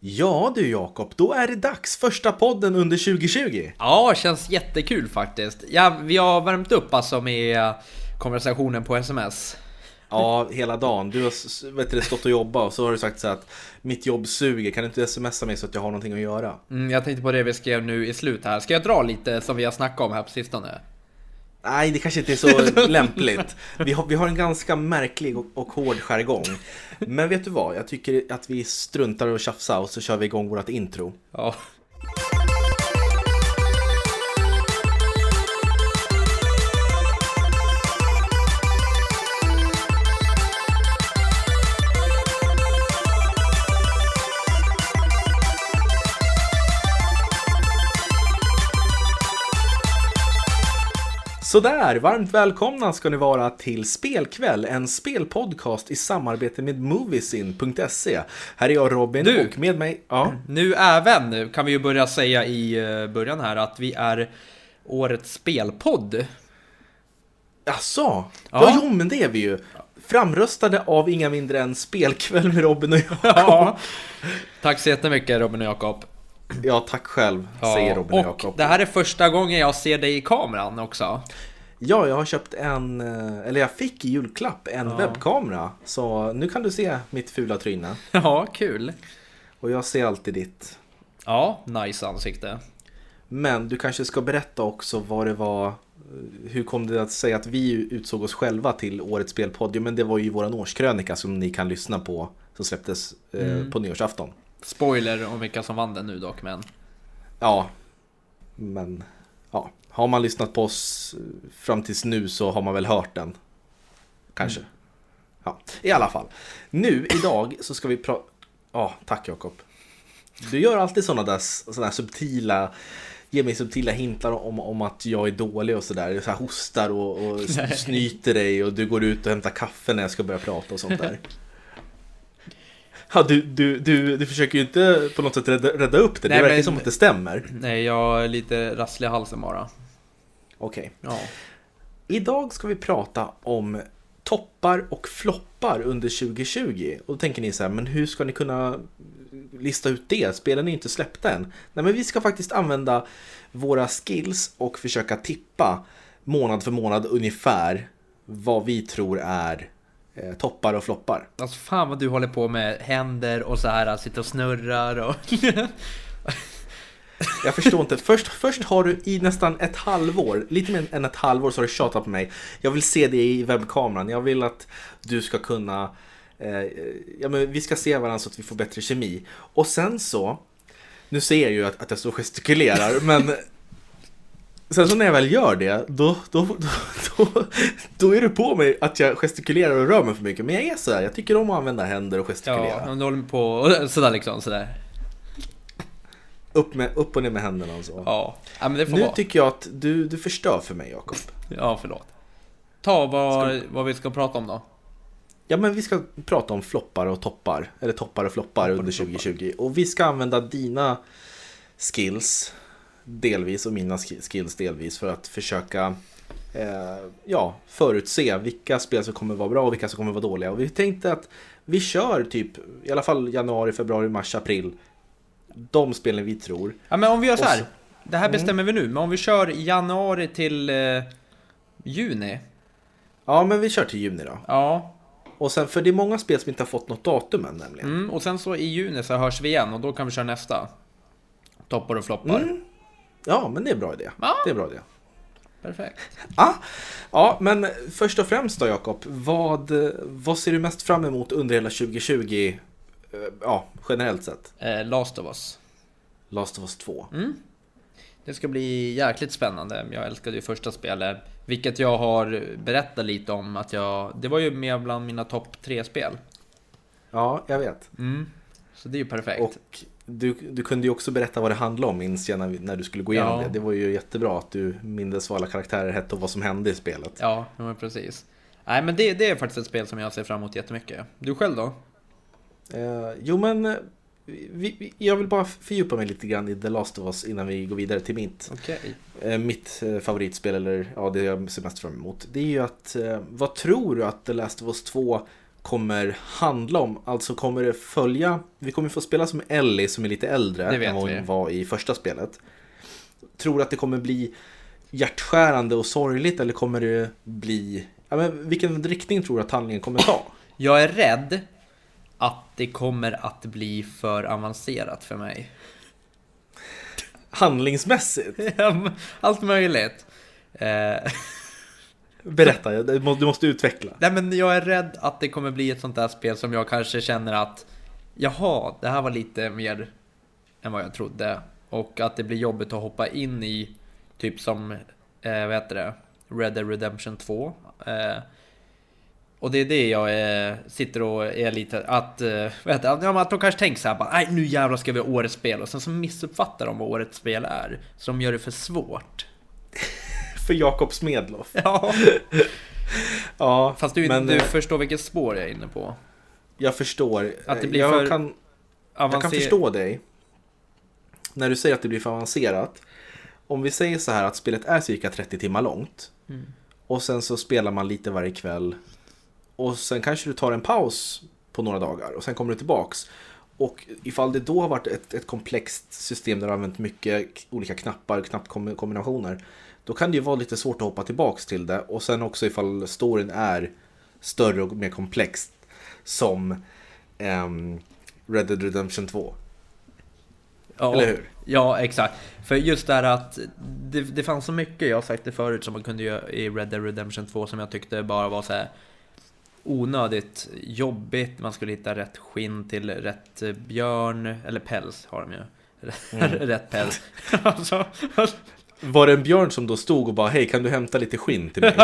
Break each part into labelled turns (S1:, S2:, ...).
S1: Ja du Jakob, då är det dags. Första podden under 2020.
S2: Ja, känns jättekul faktiskt. Ja, vi har värmt upp alltså med konversationen på sms.
S1: Ja, hela dagen. Du har s- vet du, stått och jobbat och så har du sagt så här att mitt jobb suger, kan du inte smsa mig så att jag har någonting att göra?
S2: Mm, jag tänkte på det vi skrev nu i slut här. Ska jag dra lite som vi har snackat om här på sistone?
S1: Nej, det kanske inte är så lämpligt. Vi har, vi har en ganska märklig och, och hård jargong. Men vet du vad? Jag tycker att vi struntar och tjafsar och så kör vi igång vårt intro.
S2: Ja.
S1: Sådär, varmt välkomna ska ni vara till Spelkväll, en spelpodcast i samarbete med Moviesin.se. E. Här är jag Robin
S2: Du.
S1: och med mig... Ja.
S2: Nu även kan vi ju börja säga i eh, början här att vi är årets spelpodd.
S1: Jaså? Ja.
S2: Ja.
S1: jo, men det är vi ju. Framröstade av inga mindre än Spelkväll med Robin och jag.
S2: Ja. Tack så jättemycket Robin och Jakob.
S1: Ja, tack själv,
S2: Ja,
S1: säger Robin och
S2: och
S1: Jakob.
S2: det här är första gången jag ser dig i kameran också.
S1: Ja, jag har köpt en, eh, eller jag fick i julklapp en webbkamera. Så nu kan du se mitt fula tryne.
S2: Ja, kul.
S1: Och jag ser alltid ditt.
S2: Ja, nice ansikte.
S1: Men du kanske ska berätta också vad det var, eh, hur kom det att säga att vi utsåg oss själva till årets spelpodd? Jo, men det var ju våran årskrönika som ni kan lyssna på, som släpptes eh,
S2: Mm.
S1: på nyårsafton.
S2: Spoiler om vilka som vann den nu dock, men...
S1: Ja, men ja. Har man lyssnat på oss eh, fram tills nu så har man väl hört den. Kanske.
S2: Mm.
S1: Ja, i alla fall. Nu idag så ska vi prata... Ja, tack Jakob. Du gör alltid sådana där, såna där subtila... Ge mig subtila hintar om, om att jag är dålig och sådär. Så här hostar och, och s- snyter dig och du går ut och hämtar kaffe när jag ska börja prata och sånt där. Ja, du, du, du, du försöker ju inte på något sätt rädda, rädda upp det.
S2: Nej,
S1: det verkar
S2: men-
S1: som att det stämmer.
S2: Nej, jag är lite rasslig i halsen bara.
S1: Okej.
S2: Ja.
S1: Idag ska vi prata om toppar och floppar under 2020. Och då tänker ni så här, men hur ska ni kunna lista ut det? Spelen är ju inte släppta än. Nej, men vi ska faktiskt använda våra skills och försöka tippa månad för månad ungefär vad vi tror är eh, toppar och floppar.
S2: Alltså fan vad du håller på med händer och så här, sitter och snurrar och...
S1: Jag förstår inte. Först, först har du i nästan ett halvår, lite mer än ett halvår, så har du tjatat på mig. Jag vill se dig i webbkameran. Jag vill att du ska kunna... Eh, ja, men vi ska se varandra så att vi får bättre kemi. Och sen så... Nu ser jag ju att, att jag står och gestikulerar, men... Sen så när jag väl gör det, då, då, då, då, då är du på mig att jag gestikulerar och rör mig för mycket. Men jag är så här, jag tycker om att använda händer och gestikulera.
S2: ja, om du håller på och sådär liksom, sådär.
S1: Upp, med, upp och ner med händerna och så.
S2: Ja, ja men det får
S1: Nu
S2: vara.
S1: tycker jag att du, du förstör för mig, Jakob.
S2: Ja, förlåt. Ta vad, vad vi ska prata om då.
S1: Ja, men vi ska prata om floppar och toppar, eller toppar och floppar under 2020. Och vi ska använda dina skills delvis och mina sk- skills delvis för att försöka eh, ja, förutse vilka spel som kommer vara bra och vilka som kommer vara dåliga. Och vi tänkte att vi kör typ i alla fall januari, februari, mars, april. De spelen vi tror.
S2: Ja, men om vi gör så Mm.
S1: Och
S2: här. Det här bestämmer vi nu, men om vi kör januari till eh, juni.
S1: Ja, men vi kör till juni då.
S2: Ja,
S1: Och sen, för det är många spel som inte har fått något datum än nämligen.
S2: mm, och sen så i juni så hörs vi igen och då kan vi köra nästa. Toppar och floppar.
S1: Ja, men det är en bra idé.
S2: Ja.
S1: Det är en bra idé.
S2: Perfekt.
S1: Ah, ja, men först och främst då Jakob, vad, vad ser du mest fram emot under hela 2020? eh, Ja, generellt sett.
S2: Eh, last of us.
S1: Last of us 2.
S2: Mm. Det ska bli jäkligt spännande. Jag älskade ju första spelet, vilket jag har berättat lite om att jag... Det var ju med bland mina topp tre spel.
S1: Ja, jag vet.
S2: Mm. Så det är ju perfekt.
S1: Och du, du kunde ju också berätta vad det handlade om minns jag när, vi- när du skulle gå igenom
S2: Ja.
S1: det. Det var ju jättebra att du mindes vad alla karaktärer hette och vad som hände i spelet.
S2: Ja, ja, men precis. Nej, men det, det är faktiskt ett spel som jag ser fram emot jättemycket. Du själv då?
S1: Eh, jo, men eh, vi, vi, jag vill bara fördjupa mig lite grann i The Last of Us innan vi går vidare till mitt.
S2: Okej.
S1: Eh, mitt eh, favoritspel, eller ja, det jag ser mest fram emot, det är ju att eh, vad tror du att The Last of Us 2 kommer handla om. Alltså kommer det följa, vi kommer få spela som Ellie som är lite äldre
S2: Det vet
S1: än vad
S2: vi.
S1: hon var i första spelet. Tror du att det kommer bli hjärtskärande och sorgligt eller kommer det bli, ja, men vilken riktning tror du att handlingen kommer ta?
S2: Jag är rädd att det kommer att bli för avancerat för mig.
S1: Handlingsmässigt?
S2: Allt möjligt. Eh,
S1: Berätta, jag- du måste- du måste utveckla.
S2: nej men jag är rädd att det kommer bli ett sånt där spel som jag kanske känner att Jaha, det här var lite mer än vad jag trodde. Och att det blir jobbigt att hoppa in i typ som, eh, vad heter det, Red Dead Redemption 2. Eh, och det är det jag eh, sitter och är lite att, eh, vad heter det, att, ja, men att de kanske tänker så här bara, nej nu jävlar ska vi ha årets spel. Och sen så missuppfattar de vad årets spel är. Så de gör det för svårt.
S1: För Jakob Smedloff.
S2: Ja.
S1: Ja,
S2: Fast du,
S1: men
S2: du
S1: eh,
S2: förstår vilket spår jag är inne på.
S1: jag förstår.
S2: Att det blir
S1: jag,
S2: för
S1: kan, jag kan
S2: Avancer-
S1: förstå dig. När du säger att det blir för avancerat. Om vi säger så här att spelet är cirka 30 timmar långt.
S2: Mm.
S1: Och sen så spelar man lite varje kväll. Och sen kanske du tar en paus på några dagar och sen kommer du tillbaks. Och ifall det då har varit ett, ett komplext system där du har använt mycket k- olika knappar, knappkombinationer. Då kan det ju vara lite svårt att hoppa tillbaks till det. Och sen också ifall storyn är större och mer komplex. Som ehm, Red Dead Redemption 2.
S2: Ja,
S1: Eller hur?
S2: Ja, exakt. För just det här att det, det fanns så mycket, jag har sagt det förut, som man kunde göra i Red Dead Redemption 2 som jag tyckte bara var så här onödigt jobbigt. Man skulle hitta rätt skinn till rätt eh, björn, eller päls har de ju. rätt päls. alltså,
S1: Var det en björn som då stod och bara hej kan du hämta lite skinn till mig?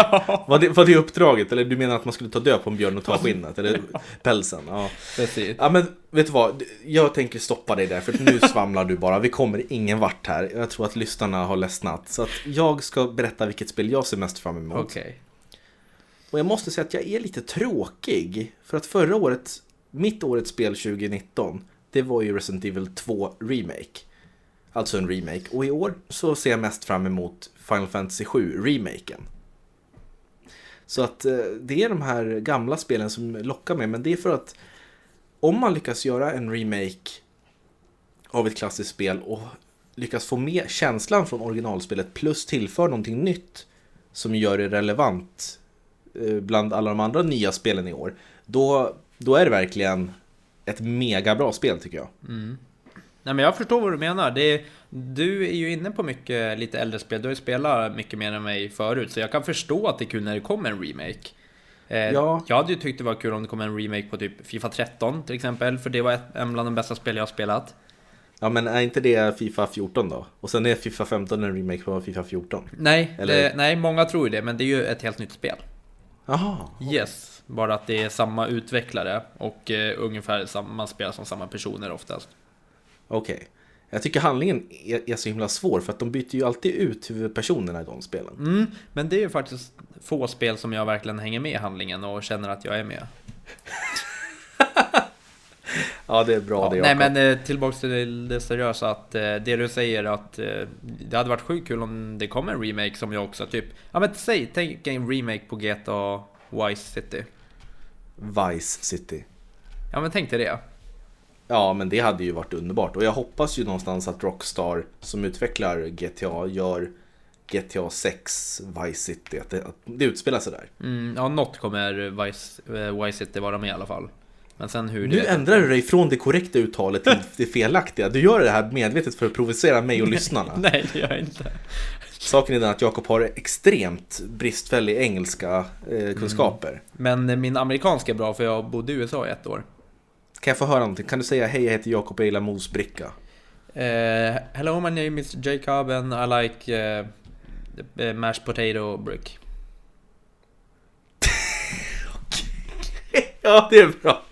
S1: Var det, var det uppdraget? Eller du menar att man skulle ta död på en björn och ta skinnet? Eller pälsen? Ja.
S2: precis.
S1: ja men vet du vad? Jag tänker stoppa dig där för att nu svamlar du bara. Vi kommer ingen vart här. Jag tror att lyssnarna har ledsnat. Så att jag ska berätta vilket spel jag ser mest fram emot.
S2: Okej.
S1: Och jag måste säga att jag är lite tråkig. För att förra året, mitt årets spel 2019, det var ju Resident Evil 2 Remake. Alltså en remake. Och i år så ser jag mest fram emot Final Fantasy 7 remaken. Så att eh, det är de här gamla spelen som lockar mig, men det är för att om man lyckas göra en remake av ett klassiskt spel och lyckas få med känslan från originalspelet plus tillför någonting nytt som gör det relevant eh, bland alla de andra nya spelen i år, då, då är det verkligen ett mega bra spel tycker jag.
S2: Nej men jag förstår vad du menar. Det är, du är ju inne på mycket lite äldre spel. Du har ju spelat mycket mer än mig förut. Så jag kan förstå att det är kul när det kommer en remake. Eh,
S1: Ja.
S2: Jag hade ju tyckt det var kul om det kom en remake på typ Fifa 13 till exempel. För det var ett, en bland de bästa spel jag har spelat.
S1: Ja men är inte det Fifa 14 då? Och sen är Fifa 15 en remake på Fifa 14?
S2: Nej,
S1: Eller-
S2: det, nej många tror ju det. Men det är ju ett helt nytt spel.
S1: Jaha,
S2: Yes. Bara att det är samma utvecklare och eh, ungefär samma, man spelar som samma personer oftast.
S1: okej. Jag tycker handlingen är, är så himla svår för att de byter ju alltid ut huvudpersonerna i de spelen.
S2: Mm, men det är ju faktiskt få spel som jag verkligen hänger med i handlingen och känner att jag är med.
S1: Ja det är bra det
S2: Nej
S1: Jakob.
S2: men eh, tillbaks till det seriösa att eh, det du säger att eh, det hade varit sjukt kul om det kom en remake som jag också typ Ja men säg, tänk en remake på GTA Vice City
S1: Vice City.
S2: Ja men tänk dig det
S1: Ja men det hade ju varit underbart och jag hoppas ju någonstans att Rockstar som utvecklar GTA gör GTA 6 Vice City, att det, att det utspelar sig där.
S2: mm, Ja något kommer Vice, eh, Vice City vara med i alla fall Men sen hur
S1: Nu
S2: det
S1: ändrar du dig från det korrekta uttalet till det felaktiga. Du gör det här medvetet för att provocera mig och lyssnarna.
S2: Nej det gör jag inte
S1: Saken är den att Jakob har extremt bristfällig engelska eh, kunskaper.
S2: Men eh, min amerikanska är bra för jag bodde i USA i ett år
S1: Kan jag få höra någonting? Kan du säga hej jag heter Jakob och jag gillar mosbricka?
S2: Eh, Hello my name is Jacob and I like eh, eh, mashed potato brick
S1: Ja det är bra!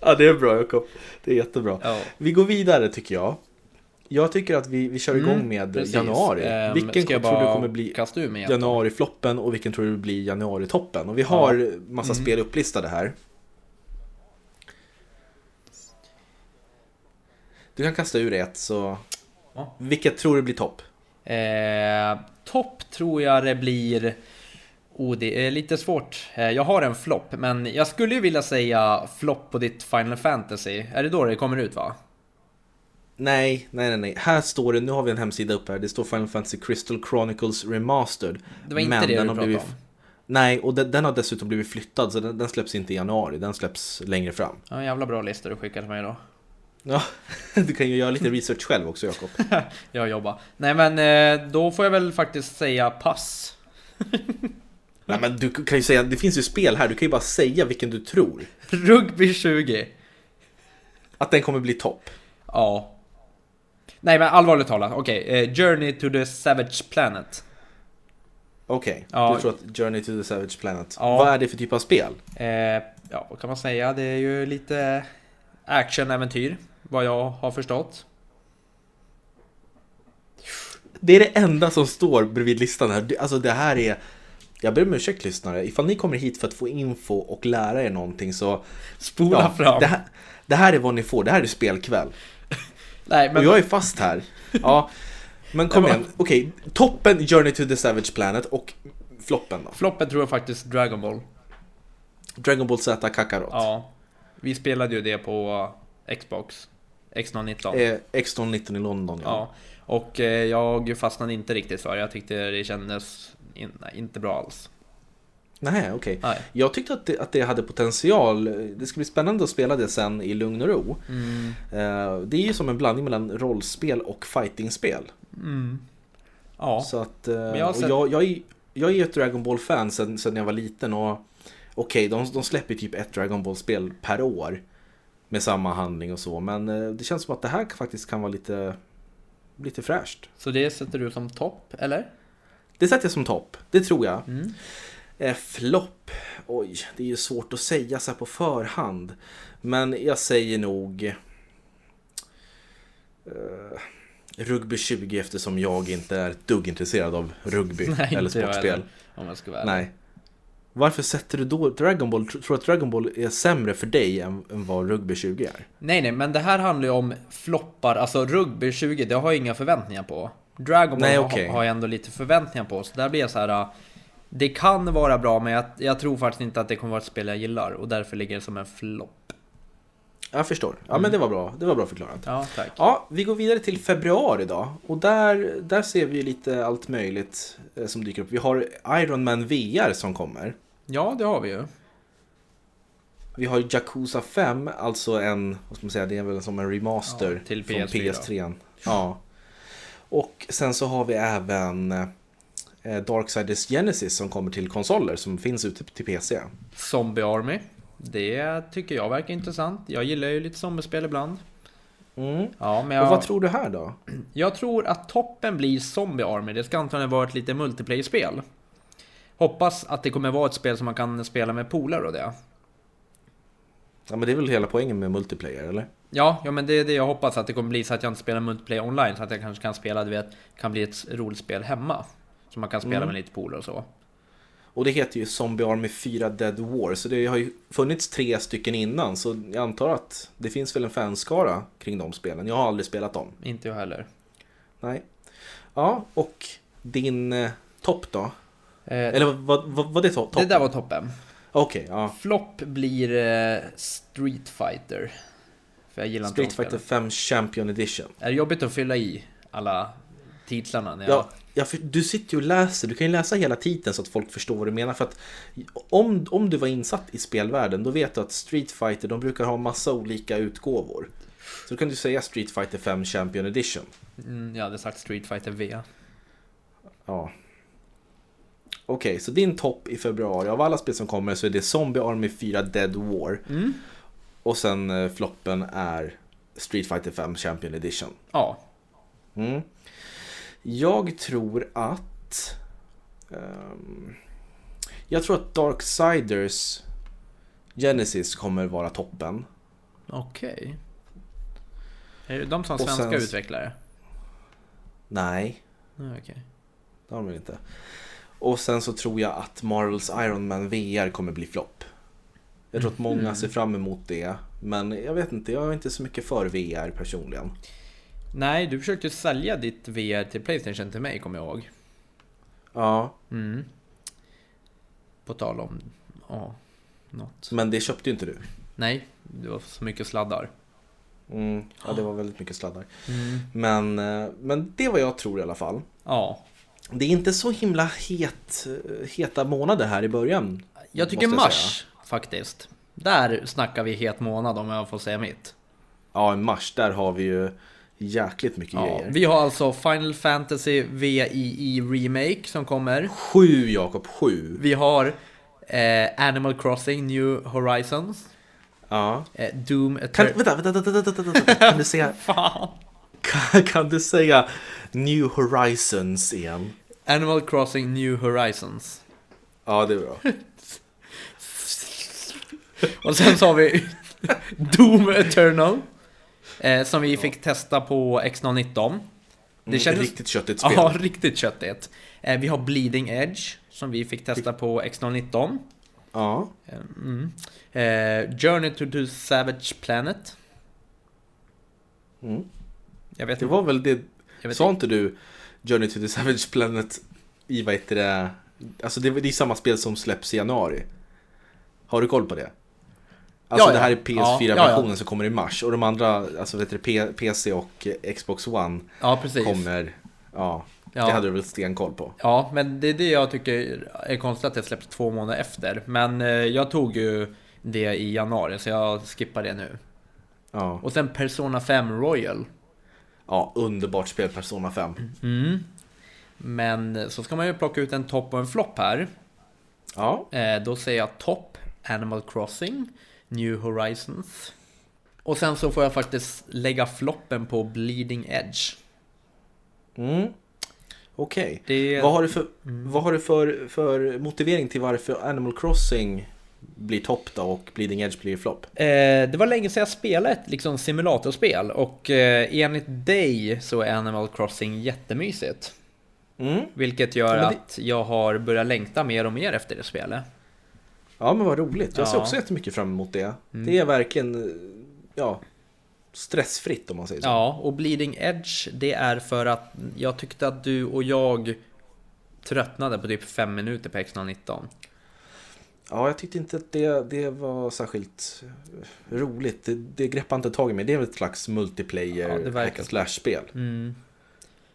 S1: Ja det är bra Jakob. Det är jättebra.
S2: Ja.
S1: Vi går vidare tycker jag. Jag tycker att vi, vi kör igång
S2: Mm,
S1: med
S2: precis.
S1: januari.
S2: Ehm,
S1: vilken
S2: ska jag
S1: tror du
S2: bara
S1: kommer bli
S2: Kasta ur mig januari.
S1: januarifloppen och vilken tror du blir januaritoppen? Och vi har massa
S2: Mm.
S1: spel upplistade här. Du kan kasta ur ett så...
S2: Ja.
S1: Vilket tror du blir topp?
S2: Eh, topp tror jag det blir... Oh, det är lite svårt. Eh, Jag har en flopp, men jag skulle ju vilja säga flopp på ditt Final Fantasy. Är det då det kommer ut va?
S1: Nej, nej, nej, nej. Här står det, nu har vi en hemsida uppe här. Det står Final Fantasy Crystal Chronicles Remastered.
S2: Det var inte det du pratade om.
S1: Nej, och den, den har dessutom blivit flyttad så den, den släpps inte i januari, den släpps längre fram.
S2: Ja, en jävla bra lista du skickade till mig då.
S1: Ja, du kan ju göra lite research själv också Jakob.
S2: Jag jobbar. Nej men eh, då får jag väl faktiskt säga pass.
S1: Nej men du kan ju säga, det finns ju spel här, du kan ju bara säga vilken du tror.
S2: Rugby 20.
S1: Att den kommer bli topp.
S2: Ja. Nej men allvarligt talat, okej. eh, Journey to the Savage Planet.
S1: Okej,
S2: Ja.
S1: du tror att Journey to the Savage Planet.
S2: Ja.
S1: Vad är det för typ av spel?
S2: Eh, ja, vad kan man säga? Det är ju lite actionäventyr, vad jag har förstått.
S1: Det är det enda som står bredvid listan här. Det- Alltså det här är... Jag ber om ursäkt lyssnare, ifall ni kommer hit för att få info och lära er någonting så...
S2: Spola fram.
S1: Det här, det här är vad ni får, det här är spelkväll.
S2: Nej men...
S1: Och jag är fast här. Ja, men kom igen. Okej, toppen Journey to the Savage Planet och floppen då?
S2: Floppen tror jag faktiskt Dragon Ball.
S1: Dragon Ball Z Kakarot.
S2: Ja. Vi spelade ju det på Xbox. X019.
S1: Eh, X19 i London ja.
S2: Ja. Och eh, jag fastnade inte riktigt för det. Jag tyckte det kändes in, nej, inte bra alls.
S1: Nej, okej.
S2: Nej.
S1: Jag tyckte att det, att det hade potential. Det ska bli spännande att spela det sen i lugn och ro.
S2: Mm.
S1: Eh, det är ju som en blandning mellan rollspel och fightingspel.
S2: Ja.
S1: Så att, eh,
S2: jag har
S1: och
S2: sett-
S1: jag, jag, är, jag är ju ett Dragon Ball-fan sen, sen jag var liten och okej, de, de släpper typ ett Dragon Ball-spel per år med samma handling och så, men eh, det känns som att det här faktiskt kan vara lite, lite fräscht.
S2: Så det sätter du som topp, eller?
S1: Det sätter jag som topp, det tror jag.
S2: Mm.
S1: Eh, Flopp, oj, det är ju svårt att säga så här på förhand. Men jag säger nog... Eh, rugby 20 eftersom jag inte är ett dugg intresserad av rugby eller
S2: inte jag
S1: sportspel.
S2: heller, Om jag ska vara ärlig.
S1: Nej. Varför sätter du då Dragon Ball? Tror tror du att Dragon Ball är sämre för dig än, än vad rugby 20 är?
S2: nej, nej, men det här handlar ju om floppar. Alltså rugby 20, det har jag inga förväntningar på. Dragon Ball
S1: Nej,
S2: har-
S1: okej.
S2: har jag ändå lite förväntningar på. Så där blir jag så här. äh, Det kan vara bra, men jag, jag tror faktiskt inte att det kommer vara ett spel jag gillar. Och därför ligger det som en flopp.
S1: Jag förstår. Ja,
S2: Mm.
S1: men det var bra. Det var bra förklarat.
S2: Ja, tack.
S1: Ja, vi går vidare till februari då. Och där, där ser vi ju lite allt möjligt eh, som dyker upp. Vi har Iron Man VR som kommer.
S2: Ja, det har vi ju.
S1: Vi har Yakuza 5, alltså en, vad ska man säga, det är väl som en remaster
S2: Ja, till
S1: från
S2: PS4.
S1: PS3. Ja. Och sen så har vi även eh, Darksiders Genesis som kommer till konsoler som finns ute till PC.
S2: Zombie Army. Det tycker jag verkar intressant. Jag gillar ju lite zombiespel ibland.
S1: Mm.
S2: Ja, men
S1: Och vad
S2: jag,
S1: tror du här då?
S2: jag tror att toppen blir Zombie Army. Det ska antagligen vara ett lite multiplayer-spel. Hoppas att det kommer vara ett spel som man kan spela med polare och det.
S1: Ja men det är väl hela poängen med multiplayer eller?
S2: Ja, ja men det är det jag hoppas att det kommer bli så att jag inte spelar multiplayer online så att jag kanske kan spela, du vet, kan bli ett roligt spel hemma. Som man kan spela
S1: Mm.
S2: med lite polare och så.
S1: Och det heter ju Zombie Army 4 Dead War, så det har ju funnits tre stycken innan, så jag antar att det finns väl en fanskara kring de spelen. Jag har aldrig spelat dem.
S2: Inte jag heller.
S1: Nej. Ja, och din eh, topp då?
S2: Eh,
S1: Eller vad, vad, vad det to-
S2: det
S1: toppen?
S2: där var toppen.
S1: Okej, ja.
S2: Flopp blir eh, Street Fighter. För jag gillar inte
S1: Street
S2: de spelen.
S1: Fighter 5 Champion Edition.
S2: Är det jobbigt att fylla i alla titlarna? När
S1: Ja.
S2: jag...
S1: ja, för du sitter ju och läser, du kan ju läsa hela titeln så att folk förstår vad du menar. För att om, om du var insatt i spelvärlden, då vet du att Street Fighter, de brukar ha massa olika utgåvor. Så då kan du säga Street Fighter 5 Champion Edition.
S2: Mm, jag hade sagt Street Fighter V.
S1: Ja. Okej, så din topp i februari, av alla spel som kommer så är det Zombie Army 4 Dead War. Och sen eh, floppen är Street Fighter 5 Champion Edition.
S2: Ja.
S1: Mm. Jag tror att... ehm, jag tror att Darksiders Genesis kommer vara toppen.
S2: Okej. Är det de som
S1: Och sen-
S2: svenska utvecklare?
S1: Nej,
S2: Nej, okej.
S1: det har de väl inte. Och sen så tror jag att Marvels Iron Man VR kommer bli flopp. Jag tror att många ser fram emot det. Men jag vet inte, jag är inte så mycket för VR personligen.
S2: Nej, du försökte sälja ditt VR till Playstation till mig, kommer jag ihåg.
S1: Ja,
S2: Mm. På tal om, ja, något.
S1: Men det köpte ju inte du.
S2: Nej, det var så mycket sladdar.
S1: Mm, ja, det var väldigt mycket sladdar. Men, eh, men det är vad jag tror i alla fall.
S2: Ja.
S1: Det är inte så himla het, eh, heta månader här i början.
S2: Jag tycker
S1: måste
S2: mars,
S1: säga.
S2: faktiskt. Där snackar vi het månad om jag får säga mitt.
S1: Ja, i mars där har vi ju jäkligt mycket
S2: Ja,
S1: grejer.
S2: vi har alltså Final Fantasy VII Remake som kommer.
S1: Sju Jakob, sju.
S2: Vi har eh, Animal Crossing New Horizons.
S1: Ja.
S2: Eh, Doom Eternal...
S1: Kan, vänta, vänta, vänta, vänta, vänta, vänta. Kan du säga,
S2: Fan!
S1: kan, kan du säga New Horizons igen?
S2: Animal Crossing New Horizons.
S1: Ja, det är bra.
S2: Och sen så har vi Doom Eternal. Eh, som vi fick testa på X019.
S1: Mm,
S2: Det kändes...
S1: Riktigt köttigt spel.
S2: Ja, riktigt köttigt. Eh, vi har Bleeding Edge. Som vi fick testa på X019.
S1: Ja.
S2: Eh, Mm. Eh, Journey to the Savage Planet.
S1: Mm.
S2: Jag vet
S1: Det
S2: inte.
S1: var väl det.
S2: Jag vet
S1: Sa inte du Journey to the Savage Planet i vad heter det? Alltså det är det är samma spel som släpps i januari. Har du koll på det? Alltså
S2: Ja, ja.
S1: det här är
S2: Ja, ja,
S1: PS4-versionen
S2: ja.
S1: som kommer i mars och de andra, alltså vad heter det, P- PC och eh, Xbox One
S2: Ja, precis.
S1: kommer. Ja,
S2: Ja.
S1: det hade du väl stenkoll på.
S2: Ja, men det är det jag tycker är konstigt att det släpps två månader efter. Men eh, jag tog ju det i januari, så jag skippar det nu.
S1: Ja,
S2: Och sen Persona 5 Royal.
S1: ja underbart spel Persona 5.
S2: Mm. Men så ska man ju plocka ut en topp och en flopp här.
S1: Ja,
S2: Eh, då säger jag topp, Animal Crossing, New Horizons. Och sen så får jag faktiskt lägga floppen på Bleeding Edge.
S1: mm. okej.
S2: Det...
S1: Vad har du, för, vad har du för, för motivering till varför Animal Crossing blir topp då och Bleeding Edge blir flopp?
S2: Eh, det var länge sedan jag spelade ett liksom, simulatorspel och eh, enligt dig så är Animal Crossing jättemysigt.
S1: Mm.
S2: Vilket gör
S1: Ja, men det-
S2: att jag har börjat längta mer och mer efter det spelet.
S1: Ja men vad roligt, jag ser
S2: Ja. Mm.
S1: också jättemycket fram emot det. Det är verkligen eh, ja, stressfritt om man säger så.
S2: Ja, och Bleeding Edge det är för att jag tyckte att du och jag tröttnade på typ 5 minuter på X119.
S1: Ja, jag tyckte inte att det, det var särskilt eh, roligt. Det, det greppade inte tag i mig. Det är väl ett slags multiplayer
S2: Ja, det verkar
S1: hack and slash-spel.
S2: Mm.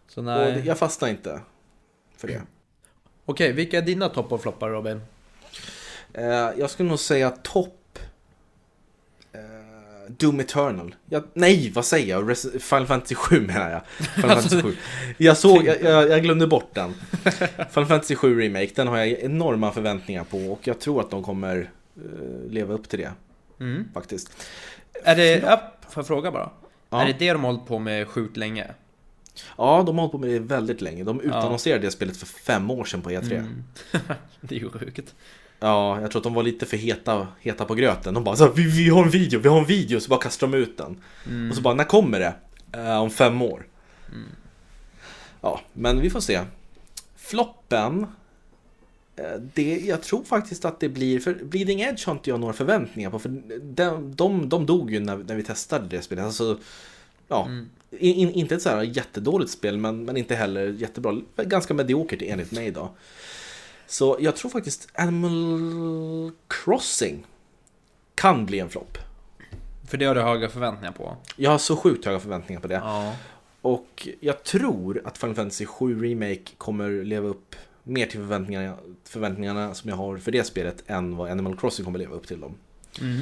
S2: Så
S1: Och det-
S2: nej.
S1: jag fastnade inte för det.
S2: Okej, vilka är dina topp och floppar Robin?
S1: Eh, jag skulle nog säga topp eh, Doom Eternal. Jag, nej, vad säger jag? Res- Final Fantasy 7 menar jag. Final Fantasy 7. Jag, såg, jag, jag, jag glömde bort den. Final Fantasy 7 Remake, den har jag enorma förväntningar på och jag tror att de kommer eh, leva upp till det
S2: Mm.
S1: faktiskt.
S2: Är det, ja, får jag fråga bara?
S1: Ja.
S2: Är det det de har hållit på med sjukt länge?
S1: Ja, de har hållit på med det väldigt länge. De utannonserade det spelet för fem år sedan på E E3.
S2: Mm. det är ju sjukt.
S1: Ja, jag tror att de var lite för heta, heta på gröten. De bara så här, vi, vi har en video, vi har en video, så bara kastar de ut den. Och så bara, när kommer det? "Eh, om fem år. Ja, men vi får se. Floppen, eh, det, jag tror faktiskt att det blir, för Bleeding Edge har inte jag några förväntningar på, för de, de, de dog ju när, när vi testade det spelet. Alltså, ja, in, in, inte ett så här jättedåligt spel, men, men inte heller jättebra. Ganska mediokert enligt mig då. Så jag tror faktiskt Animal Crossing kan bli en flopp.
S2: För det har du höga förväntningar på.
S1: Jag har så sjukt höga förväntningar på det.
S2: Ja.
S1: Och jag tror att Final Fantasy 7 Remake kommer leva upp mer till förväntningarna, förväntningarna som jag har för det spelet än vad Animal Crossing kommer leva upp till dem.
S2: Mm.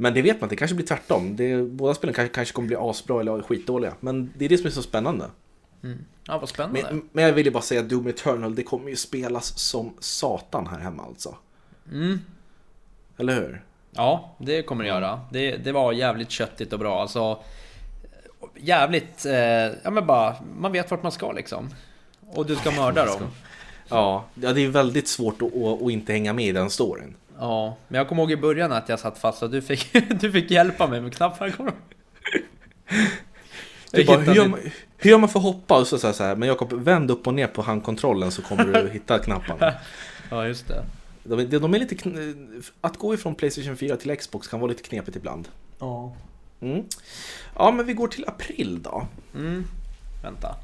S1: Men det vet man inte, det kanske blir tvärtom. Det, båda spelen kanske, kanske kommer bli asbra eller skitdåliga. Men det är det som är så spännande.
S2: Mm. Ja, vad spännande.
S1: Men, men jag ville bara säga att Doom Eternal, det kommer ju spelas som satan här hemma alltså.
S2: Mm.
S1: Eller hur?
S2: Ja, det kommer det göra. Det, det var jävligt köttigt och bra. Alltså, jävligt... Eh, ja, men bara, man vet vart man ska liksom. Och du ska mörda
S1: man ska.
S2: dem.
S1: Ja, ja, det är väldigt svårt att, att, att inte hänga med i den storyn.
S2: Ja, men jag kommer ihåg i början att jag satt fast och du fick, du fick hjälpa mig med knapparna. Kommer du ihåg?
S1: Du
S2: Jag
S1: bara, hur,
S2: hittade
S1: gör
S2: inte-
S1: man, hur gör man för att hoppa? Och så, så, här, så här, men Jakob, vänd upp och ner på handkontrollen så kommer du hitta knapparna.
S2: Ja, just det.
S1: De, är- de är lite, kn- att gå ifrån Playstation 4 till Xbox kan vara lite knepigt ibland.
S2: Ja.
S1: Mm. Ja, men vi går till april då.
S2: Mm. Vänta.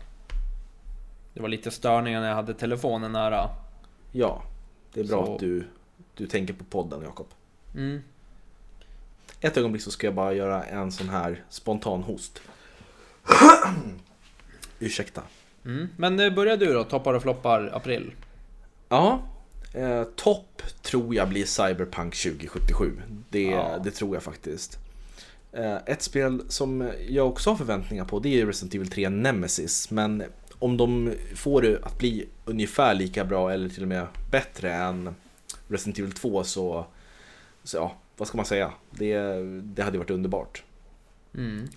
S2: Det var lite störningar när jag hade telefonen nära.
S1: Ja, det är bra
S2: Så-
S1: att du du tänker på podden Jakob.
S2: Mm.
S1: Ett ögonblick så ska jag bara göra en sån här spontan host. Ursäkta.
S2: Mm. Men eh, börja du då, toppar och floppar april.
S1: Ja, eh, topp tror jag blir Cyberpunk 2077. Det,
S2: Ja.
S1: det tror jag faktiskt. Eh, ett spel som jag också har förväntningar på det är Resident Evil 3 Nemesis. Men om de får det att bli ungefär lika bra eller till och med bättre än Resident Evil 2 så, så ja, vad ska man säga? Det, det hade ju varit underbart.
S2: Mm.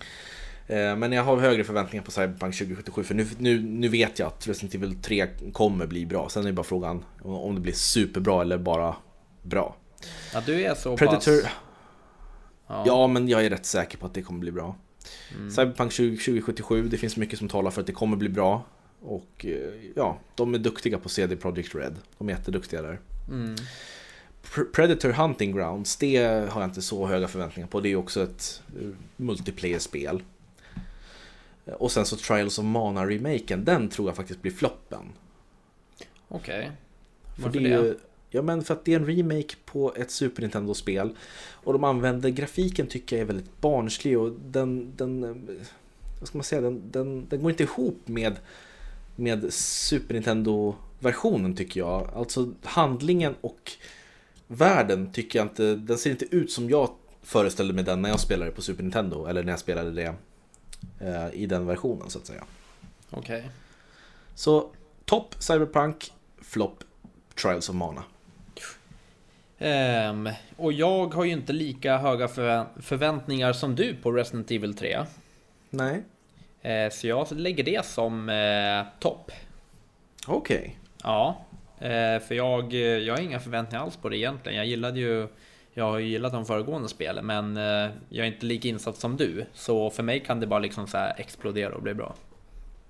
S1: Eh, Men jag har högre förväntningar på Cyberpunk 2077 för nu, nu, nu vet jag att Resident Evil 3 kommer bli bra. Sen är det bara frågan om- om det blir superbra eller bara bra.
S2: Att du är så
S1: Predator,
S2: pass... Ja.
S1: ja men jag är rätt säker på att det kommer bli bra. Cyberpunk 20, 2077, det finns mycket som talar för att det kommer bli bra. Och eh, ja, de är duktiga på CD Projekt Red. De är jätteduktiga där.
S2: Mm.
S1: Pr- Predator Hunting Grounds, det har jag inte så höga förväntningar på. Det är ju också ett eh, multiplayer-spel. Eh, Och sen så Trials of Mana-remaken, den tror jag faktiskt blir floppen.
S2: Okej.
S1: För
S2: Varför
S1: det är
S2: det?
S1: ju, ja men för att det är en remake på ett Super Nintendo-spel. Och de använder grafiken tycker jag är väldigt barnslig och den, den eh, vad ska man säga, den, den, den går inte ihop med, med Super Nintendo-versionen tycker jag. Alltså handlingen och världen tycker jag inte, den ser inte ut som jag föreställde mig den när jag spelade på Super Nintendo. Eller när jag spelade det eh, i den versionen så att säga.
S2: Okej.
S1: Så topp Cyberpunk, flopp Trials of Mana.
S2: Ehm, och jag har ju inte lika höga förvä- förväntningar som du på Resident Evil 3.
S1: Nej.
S2: Eh, så jag lägger det som eh, topp.
S1: Okej.
S2: Ja. Eh, för jag, eh, jag har inga förväntningar alls på det egentligen. Jag gillade ju... Jag har ju gillat de föregående spelen men eh, jag är inte lika insatt som du. Så för mig kan det bara liksom så här explodera och bli bra.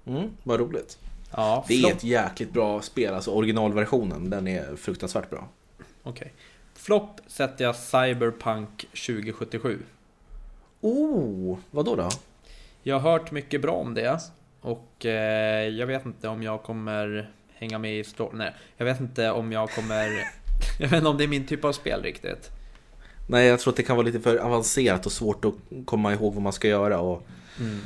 S1: Mm, vad roligt.
S2: Ja,
S1: Det är
S2: flopp.
S1: ett jäkligt bra spel, alltså originalversionen. Den är fruktansvärt bra.
S2: Okej. Flopp sätter jag Cyberpunk 2077.
S1: Oh, vad då? då?
S2: Jag har hört mycket bra om det och eh, jag vet inte om jag kommer hänga med i storyn. Nej, jag vet inte om jag kommer... jag vet inte om det är min typ av spel riktigt.
S1: Nej, jag tror att det kan vara lite för avancerat och svårt att komma ihåg vad man ska göra. Och, Mm.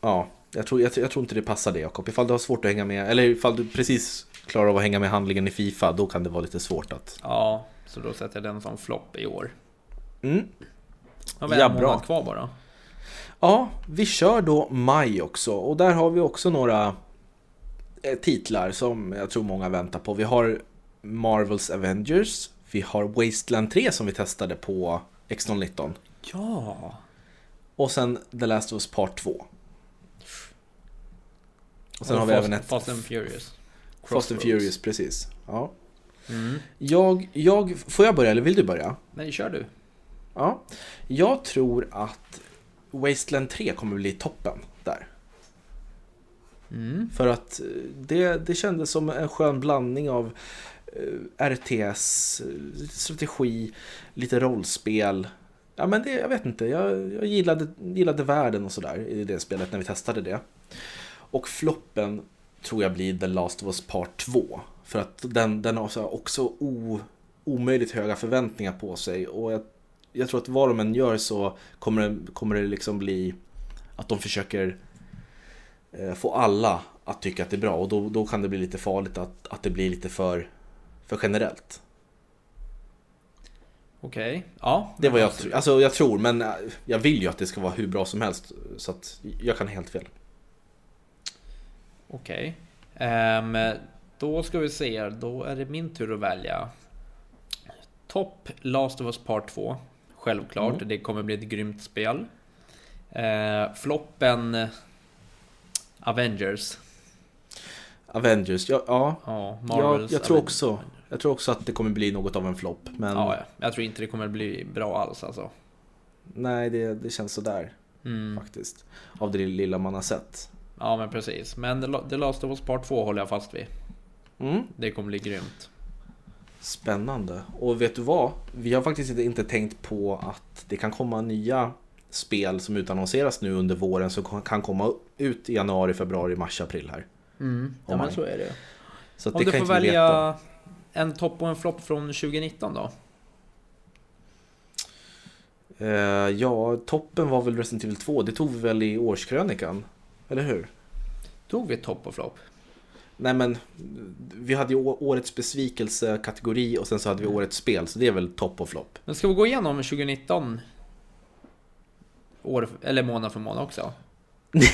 S1: ja, jag, tror, jag, tror- jag tror inte det passar dig Jakob. Ifall du har svårt att hänga med, eller ifall du precis klarar av att hänga med handlingen i Fifa, då kan det vara lite svårt att...
S2: Ja, så då sätter jag den som flopp i år.
S1: Mm.
S2: Jag har
S1: Ja,
S2: en
S1: bra.
S2: månad kvar bara.
S1: Ja, vi kör då maj också och där har vi också några eh, titlar som jag tror många väntar på. Vi har Marvels Avengers, vi har Wasteland 3 som vi testade på X019
S2: Ja!
S1: och sen The Last of Us Part 2. Och sen
S2: Och
S1: har vi
S2: Fast,
S1: även ett
S2: Fast and Furious.
S1: Fast and
S2: Crossroads.
S1: Furious, precis. Ja.
S2: Mm.
S1: Jag, jag, får jag börja eller vill du börja?
S2: Nej, kör du.
S1: Ja. Jag tror att Wasteland 3 kommer bli toppen där.
S2: Mm.
S1: För att eh, det, det kändes som en skön blandning av eh, RTS, eh, lite strategi, lite rollspel. Ja men det, jag vet inte, jag, jag gillade, gillade världen och sådär i det spelet när vi testade det. Och floppen tror jag blir The Last of Us Part 2. För att den, den har så här också o, omöjligt höga förväntningar på sig. Och jag, jag tror att vad de än gör så kommer det, kommer det liksom bli att de försöker eh, få alla att tycka att det är bra och då, då kan det bli lite farligt att, att det blir lite för, för generellt.
S2: Okej. Ja.
S1: Det var jag,
S2: alltså,
S1: tr- alltså jag tror, men eh, jag vill ju att det ska vara hur bra som helst så att jag kan ha helt fel.
S2: Okej. Ehm, då ska vi se, då är det min tur att välja. Topp Last of Us Part 2. Självklart,
S1: Mm.
S2: det kommer bli ett grymt spel. Eh, floppen eh, Avengers.
S1: Avengers, ja, ja
S2: Ja,
S1: jag,
S2: Marvels
S1: jag, tror
S2: Aven-
S1: också, jag tror också att det kommer bli något av en flopp, men
S2: Ja, ja, jag tror inte det kommer bli bra alls alltså.
S1: nej, det, det känns sådär
S2: Mm.
S1: faktiskt. Av det lilla man har sett.
S2: Ja, men precis. Men The La- The Last of Us Part 2 håller jag fast vid.
S1: Mm.
S2: Det kommer bli grymt.
S1: Spännande. Och vet du vad? Vi har faktiskt inte- inte tänkt på att det kan komma nya spel som utannonseras nu under våren som kon- kan komma ut i januari, februari, mars, april här.
S2: Mm.
S1: Om
S2: Ja, men
S1: man-
S2: så är det.
S1: Så att
S2: Om
S1: det
S2: du
S1: kan
S2: får
S1: inte vi veta.
S2: välja en topp och en flopp från 2019 då?
S1: Eh, ja, toppen var väl Resident Evil 2. Det tog vi väl i årskrönikan? Eller hur?
S2: Tog vi topp och flopp?
S1: Nej men, vi hade ju å- årets besvikelse-kategori och sen så
S2: Mm.
S1: hade vi årets spel, så det är väl topp och flopp.
S2: Men ska vi gå igenom 2019? År, eller månad för månad också?
S1: Nej,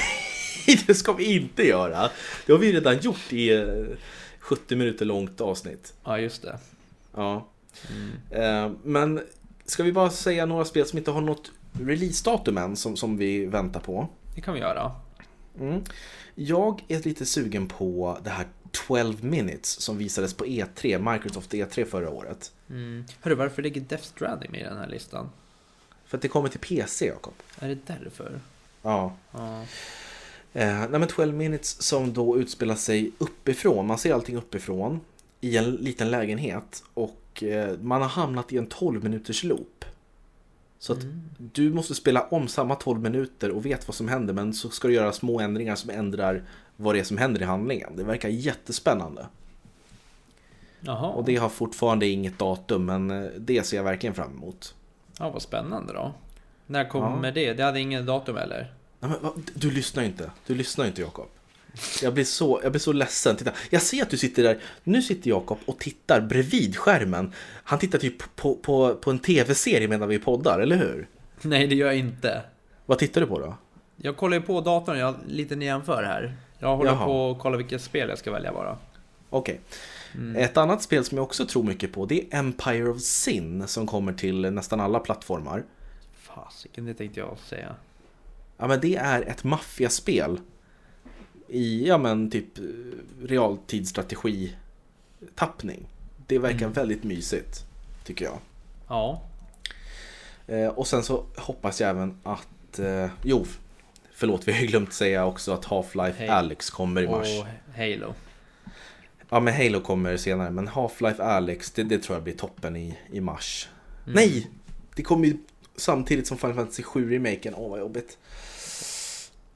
S1: det ska vi inte göra! Det har vi redan gjort i eh, 70 minuter långt avsnitt.
S2: Ja, just det.
S1: Ja. Eh, Men ska vi bara säga några spel som inte har något releasedatum än som, som vi väntar på?
S2: Det kan vi göra.
S1: Mm. Jag är lite sugen på det här 12 minutes som visades på E3, Microsoft E3 förra året.
S2: Mm. Hörru, varför ligger Death Stranding med i den här listan?
S1: För att det kommer till PC, Jakob.
S2: Är det därför?
S1: Ja.
S2: Ja.
S1: Eh, nej men 12 minutes som då utspelar sig uppifrån, man ser allting uppifrån i en liten lägenhet och eh, man har hamnat i en 12 minuters loop. Så att du måste spela om samma 12 minuter och vet vad som händer men så ska du göra små ändringar som ändrar vad det är som händer i handlingen. Det verkar jättespännande.
S2: Jaha,
S1: Och det har fortfarande inget datum men eh, det ser jag verkligen fram emot.
S2: ja, vad spännande då. När kommer det? Det hade ingen datum eller?
S1: Nej, men, va? du lyssnar ju inte. Du lyssnar ju inte Jakob. Jag blir så, jag blir så ledsen. Titta. Jag ser att du sitter där. Nu sitter Jakob och tittar bredvid skärmen. Han tittar typ på, på, på en tv-serie medan vi poddar, eller hur?
S2: Nej, det gör jag inte.
S1: Vad tittar du på då?
S2: Jag kollar ju på datorn, jag lite jämför här. Jag håller
S1: Jaha.
S2: på att kolla vilket spel jag ska välja bara.
S1: Okej. Ett annat spel som jag också tror mycket på det är Empire of Sin som kommer till nästan alla plattformar.
S2: Fasiken, det tänkte jag säga.
S1: Ja men det är ett maffiaspel i, ja men typ eh, realtidsstrategi tappning. Det verkar
S2: Mm.
S1: väldigt mysigt, tycker jag.
S2: Ja,
S1: Eh, och sen så hoppas jag även att, eh, jo, förlåt vi har ju glömt säga också att Half-Life
S2: Hej.
S1: Alyx kommer i mars.
S2: och Halo.
S1: Ja men Halo kommer senare, men Half-Life Alyx, det, det tror jag blir toppen i, i mars. Nej! Det kommer ju samtidigt som Final Fantasy 7-remaken, åh vad jobbigt.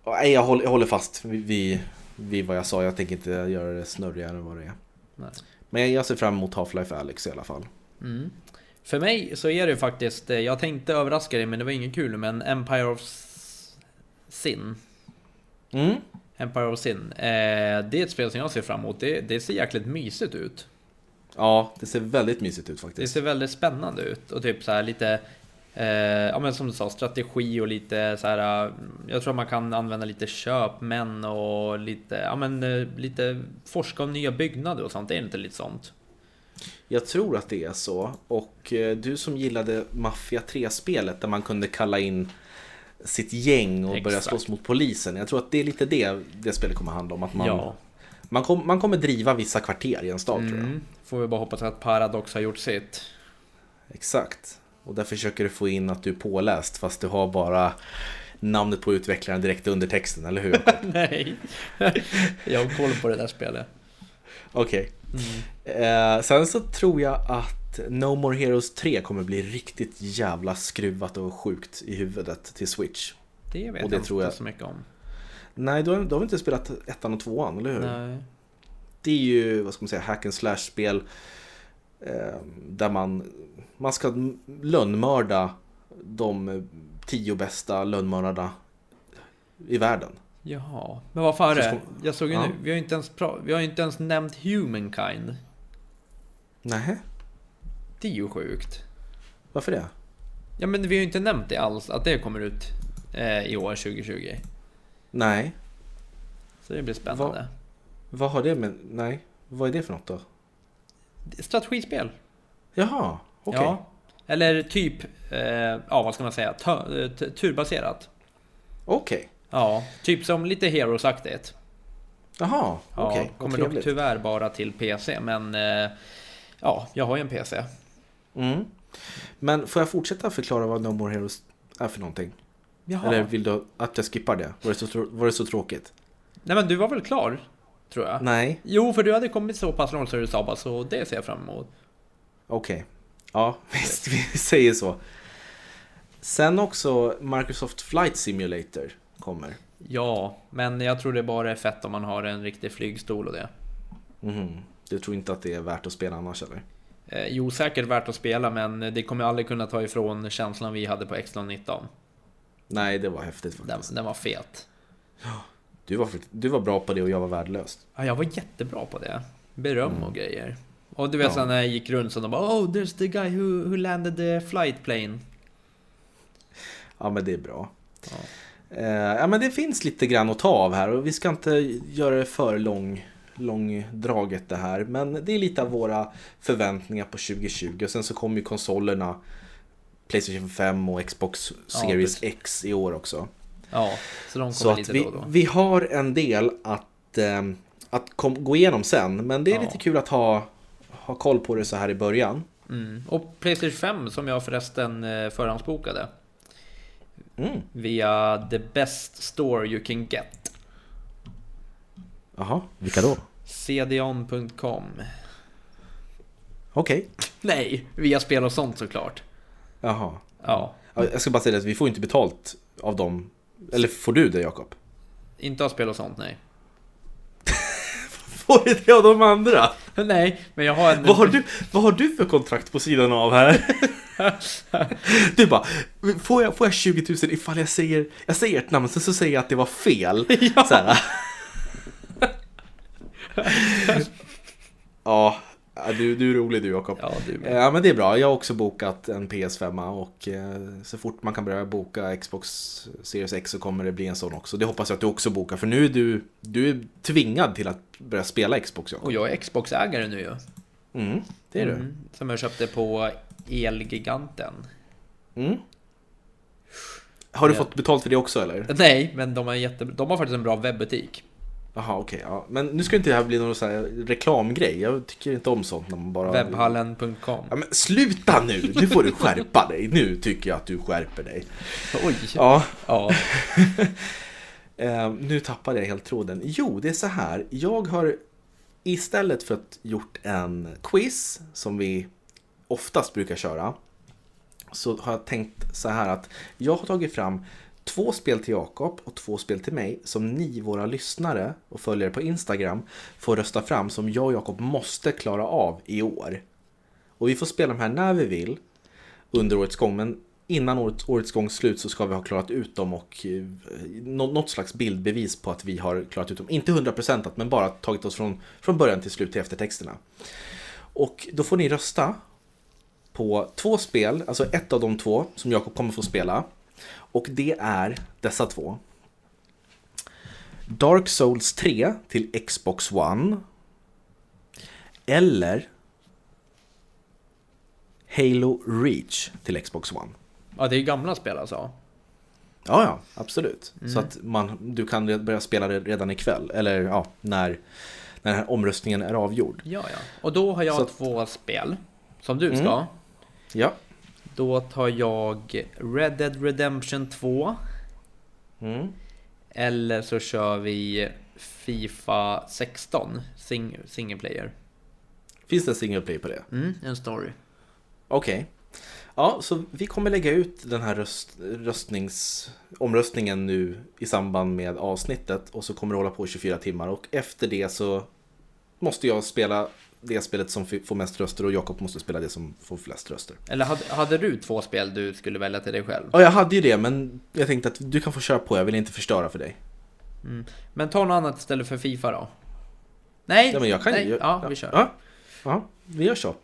S1: Åh, Nej jag håller, jag håller fast vid, vid, vid vad jag sa, jag tänker inte göra det snurrigare än vad det är.
S2: Nej.
S1: Men jag ser fram emot Half-Life Alyx i alla fall.
S2: Mm. För mig så är det ju faktiskt, eh, jag tänkte överraska dig men det var inget kul, men Empire of S- Sin.
S1: Mm.
S2: Empire of Sin. Eh, det är ett spel som jag ser fram emot. Det, det ser jäkligt mysigt ut.
S1: Ja, det ser väldigt mysigt ut faktiskt.
S2: Det ser väldigt spännande ut och typ så här lite eh, Ja men som du sa, strategi och lite så här eh, Jag tror man kan använda lite köpmän och lite Ja men eh, lite forska om nya byggnader och sånt, är det inte lite sånt?
S1: Jag tror att det är så. Och eh, du som gillade Mafia 3-spelet där man kunde kalla in sitt gäng och börja
S2: Exakt.
S1: slåss mot polisen. Jag tror att det är lite det det spelet kommer handla om. Att man,
S2: Ja.
S1: man, kom, man kommer driva vissa kvarter i en stad tror jag.
S2: Mm. Får vi bara hoppas att Paradox har gjort sitt
S1: Exakt. Och där försöker du få in att du är påläst fast du har bara namnet på utvecklaren direkt under texten, eller hur? Jakob?
S2: Nej Jag har koll på det där spelet
S1: Okej.
S2: Mm.
S1: Eh, sen så tror jag att No More Heroes 3 kommer bli riktigt jävla skruvat och sjukt i huvudet till Switch.
S2: Det vet
S1: Och det
S2: jag
S1: tror
S2: inte
S1: jag.
S2: så mycket om
S1: Nej, då har, då har vi inte spelat ettan och tvåan, eller hur?
S2: Nej.
S1: Det är ju, vad ska man säga, hack and slash-spel eh, där man, man ska lönnmörda de tio bästa lönnmördarna i världen.
S2: Jaha, men vad fan är
S1: Så
S2: det?
S1: ska-
S2: Jag såg ju
S1: Ja.
S2: nu, vi har ju inte ens, pra- vi har ju inte ens nämnt Humankind
S1: Nej,
S2: Det är ju sjukt
S1: varför det?
S2: Ja men vi har ju inte nämnt det alls, att det kommer ut eh, i år 2020.
S1: Nej,
S2: Så det blir spännande.
S1: vad har det med, nej, vad är det för något då?
S2: Strategispel.
S1: Jaha, okej.
S2: Ja. Eller typ, eh, ja vad ska man säga, Ta- eh, t- turbaserat.
S1: Okej,
S2: Ja, typ som lite Heroes-aktigt.
S1: jaha,
S2: Ja,
S1: okej, vad
S2: kommer dock
S1: trevligt.
S2: tyvärr bara till PC, men eh, ja, jag har ju en PC.
S1: Mm. Men får jag fortsätta förklara vad No More Heroes är för någonting?
S2: Jaha.
S1: Eller vill du att jag skippar det? Var det så, tr- var det så tråkigt?
S2: Nej men du var väl klar? Tror jag.
S1: Nej.
S2: Jo, för du hade kommit så pass långt som du sa bara, så det ser jag fram emot.
S1: Okej. Ja, visst, vi säger så. Sen också Microsoft Flight Simulator kommer.
S2: Ja, men jag tror det bara är fett om man har en riktig flygstol och det.
S1: Mhm. Du tror inte att det är värt att spela annars eller?
S2: Eh, jo, säkert värt att spela, men det kommer aldrig kunna ta ifrån känslan vi hade på X19.
S1: Nej, det var häftigt faktiskt.
S2: Den, den var fet.
S1: Du, var, fakt- du var bra på det och jag var värdelös.
S2: Ja, jag var jättebra på det. Beröm
S1: Mm.
S2: och grejer. Och du vet sen när jag gick runt så de bara Oh, there's the guy who, who landed the flight plane.
S1: Ja, men det är bra.
S2: Ja.
S1: Eh, ja, men det finns lite grann att ta av här och vi ska inte göra det för lång, långdraget det här. Men det är lite av våra förväntningar på 2020 och sen så kommer ju konsolerna Playstation 5 och Xbox
S2: Ja,
S1: Series
S2: precis.
S1: X i år också.
S2: ja, så de
S1: Så
S2: kommer
S1: att
S2: lite
S1: vi,
S2: då och då.
S1: vi har en del att, eh, att kom, gå igenom sen men det är
S2: Ja.
S1: lite kul att ha, ha koll på det så här i början.
S2: Mm. Och Playstation 5 som jag förresten eh, förhandsbokade.
S1: Mm.
S2: Via the best store you can get.
S1: Jaha, vilka då?
S2: Cdon.com
S1: Okej,
S2: Nej, via spel och sånt såklart.
S1: jaha.
S2: Ja,
S1: Ja, Jag ska bara säga det att vi får inte betalt av dem. Eller får du det Jakob?
S2: inte av spel och sånt nej.
S1: Får du det av de andra?
S2: nej, men jag har en...
S1: Vad har, du, vad har du för kontrakt på sidan av här? Du bara, får jag, får jag 20 000 ifall jag säger, jag säger ert namn, sen så säger jag att det var fel?
S2: Ja.
S1: Så här. ja, du, du är rolig du Jakob. Eh,
S2: Ja, du med.
S1: Ja men det är bra, jag har också bokat en PS5 och eh, så fort man kan börja boka Xbox Series X så kommer det bli en sån också. Det hoppas jag att du också bokar för nu är du, du är tvingad till att börja spela Xbox Jakob.
S2: Och jag är Xbox-ägare nu ju.
S1: Mm, det är du.
S2: Mm, som jag köpte på Elgiganten.
S1: Mm. Har du
S2: Ja.
S1: fått betalt för det också eller?
S2: Nej, men de, är jätte... de har faktiskt en bra webbutik.
S1: Jaha okej, ja. men nu ska inte det här bli någon så här reklamgrej. Jag tycker inte om sånt när man bara...
S2: Webbhallen.com.
S1: Ja, men sluta nu! Nu får du skärpa dig. Nu tycker jag att du skärper dig.
S2: Oj! Ja.
S1: Ja,
S2: ja.
S1: eh, nu tappade jag helt tråden. Jo, det är så här. Jag har istället för att gjort en quiz som vi oftast brukar köra. Så har jag tänkt så här att jag har tagit fram två spel till Jakob och två spel till mig som ni, våra lyssnare och följare på Instagram, får rösta fram som jag och Jakob måste klara av i år. Och vi får spela de här när vi vill under årets gång, men innan årets, årets gång slut så ska vi ha klarat ut dem och eh, nå- något slags bildbevis på att vi har klarat ut dem. Inte 100% men bara tagit oss från, från början till slut till eftertexterna. Och då får ni rösta på två spel, alltså ett av de två som Jakob kommer få spela. Och det är dessa två. Dark Souls 3 till Xbox One. Eller Halo Reach till Xbox One.
S2: ja, det är ju gamla spel alltså.
S1: Ja, ja, absolut. Så att man, du kan re- börja spela det redan ikväll, eller ja, när, när den här omröstningen är avgjord.
S2: Ja, ja. Och då har jag
S1: Så att- Mm.
S2: två spel. Som du ska.
S1: Ja.
S2: Då tar jag Red Dead Redemption 2.
S1: Mm.
S2: Eller så kör vi Fifa 16. Sing single player.
S1: Finns det en single play på det?
S2: Mm, en story.
S1: Okej. Ja, så vi kommer lägga ut den här röst, röstnings, omröstningen nu i samband med avsnittet och så kommer det hålla på i 24 timmar och efter det så måste jag spela det spelet som f- får mest röster och Jakob måste spela det som får flest röster.
S2: Eller hade, hade du två spel du skulle välja till dig själv?
S1: Ja, jag hade ju det men jag tänkte att du kan få köra på, jag vill inte förstöra för dig.
S2: Men ta något annat istället för Fifa då. Nej!
S1: Ja, men jag kan
S2: nej.
S1: ju...
S2: Ja, vi kör.
S1: Ja, ja vi gör så.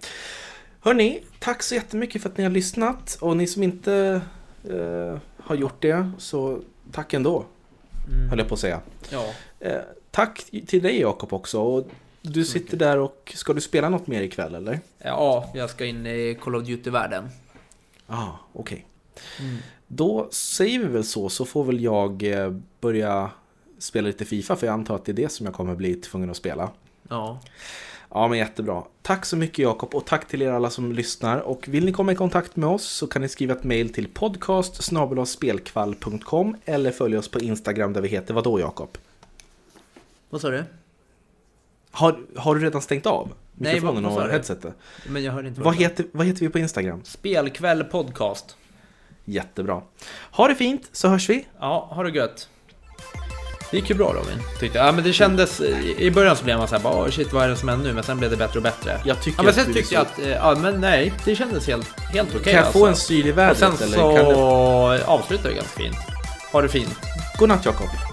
S1: Hörni, tack så jättemycket för att ni har lyssnat. Och ni som inte eh, har gjort det, så tack ändå. Höll jag på att säga.
S2: Mm. Ja.
S1: Eh, tack till dig Jakob också. Och du sitter där och ska du spela något mer ikväll eller?
S2: ja, jag ska in i Call of Duty-världen.
S1: Ja, ah, okej. Då säger vi väl så, så får väl jag eh, börja spela lite Fifa för jag antar att det är det som jag kommer bli tvungen att spela.
S2: Ja.
S1: Ja, men jättebra. Tack så mycket Jakob och tack till er alla som lyssnar. Och vill ni komma i kontakt med oss så kan ni skriva ett mejl till podcast spelkvall.com eller följ oss på Instagram där vi heter vadå Jakob?
S2: Vad sa du?
S1: Har, har du redan stängt av
S2: Nej,
S1: mikrofonen
S2: vad- vad sa
S1: och
S2: du?
S1: headsetet?
S2: Men jag hörde inte
S1: Vad
S2: du sa.
S1: heter, vad heter vi på Instagram?
S2: Spelkväll podcast.
S1: Jättebra. Ha det fint så hörs vi.
S2: Ja, har du gött. Det gick ju bra Robin, tyckte jag. Ja, men det kändes, i- i början så blev man såhär, bara, "Åh, shit vad är det som händer nu? Men sen blev det bättre och bättre.
S1: Jag tycker
S2: ja, men
S1: att
S2: sen
S1: du är
S2: tyckte jag att, eh, ja men nej, det kändes helt, helt okej
S1: Kan jag
S2: alltså.
S1: få en syl i
S2: Och sen
S1: vädret? eller
S2: så
S1: Kan du...
S2: avslutar vi ganska fint. Ha det fint.
S1: Godnatt Jakob.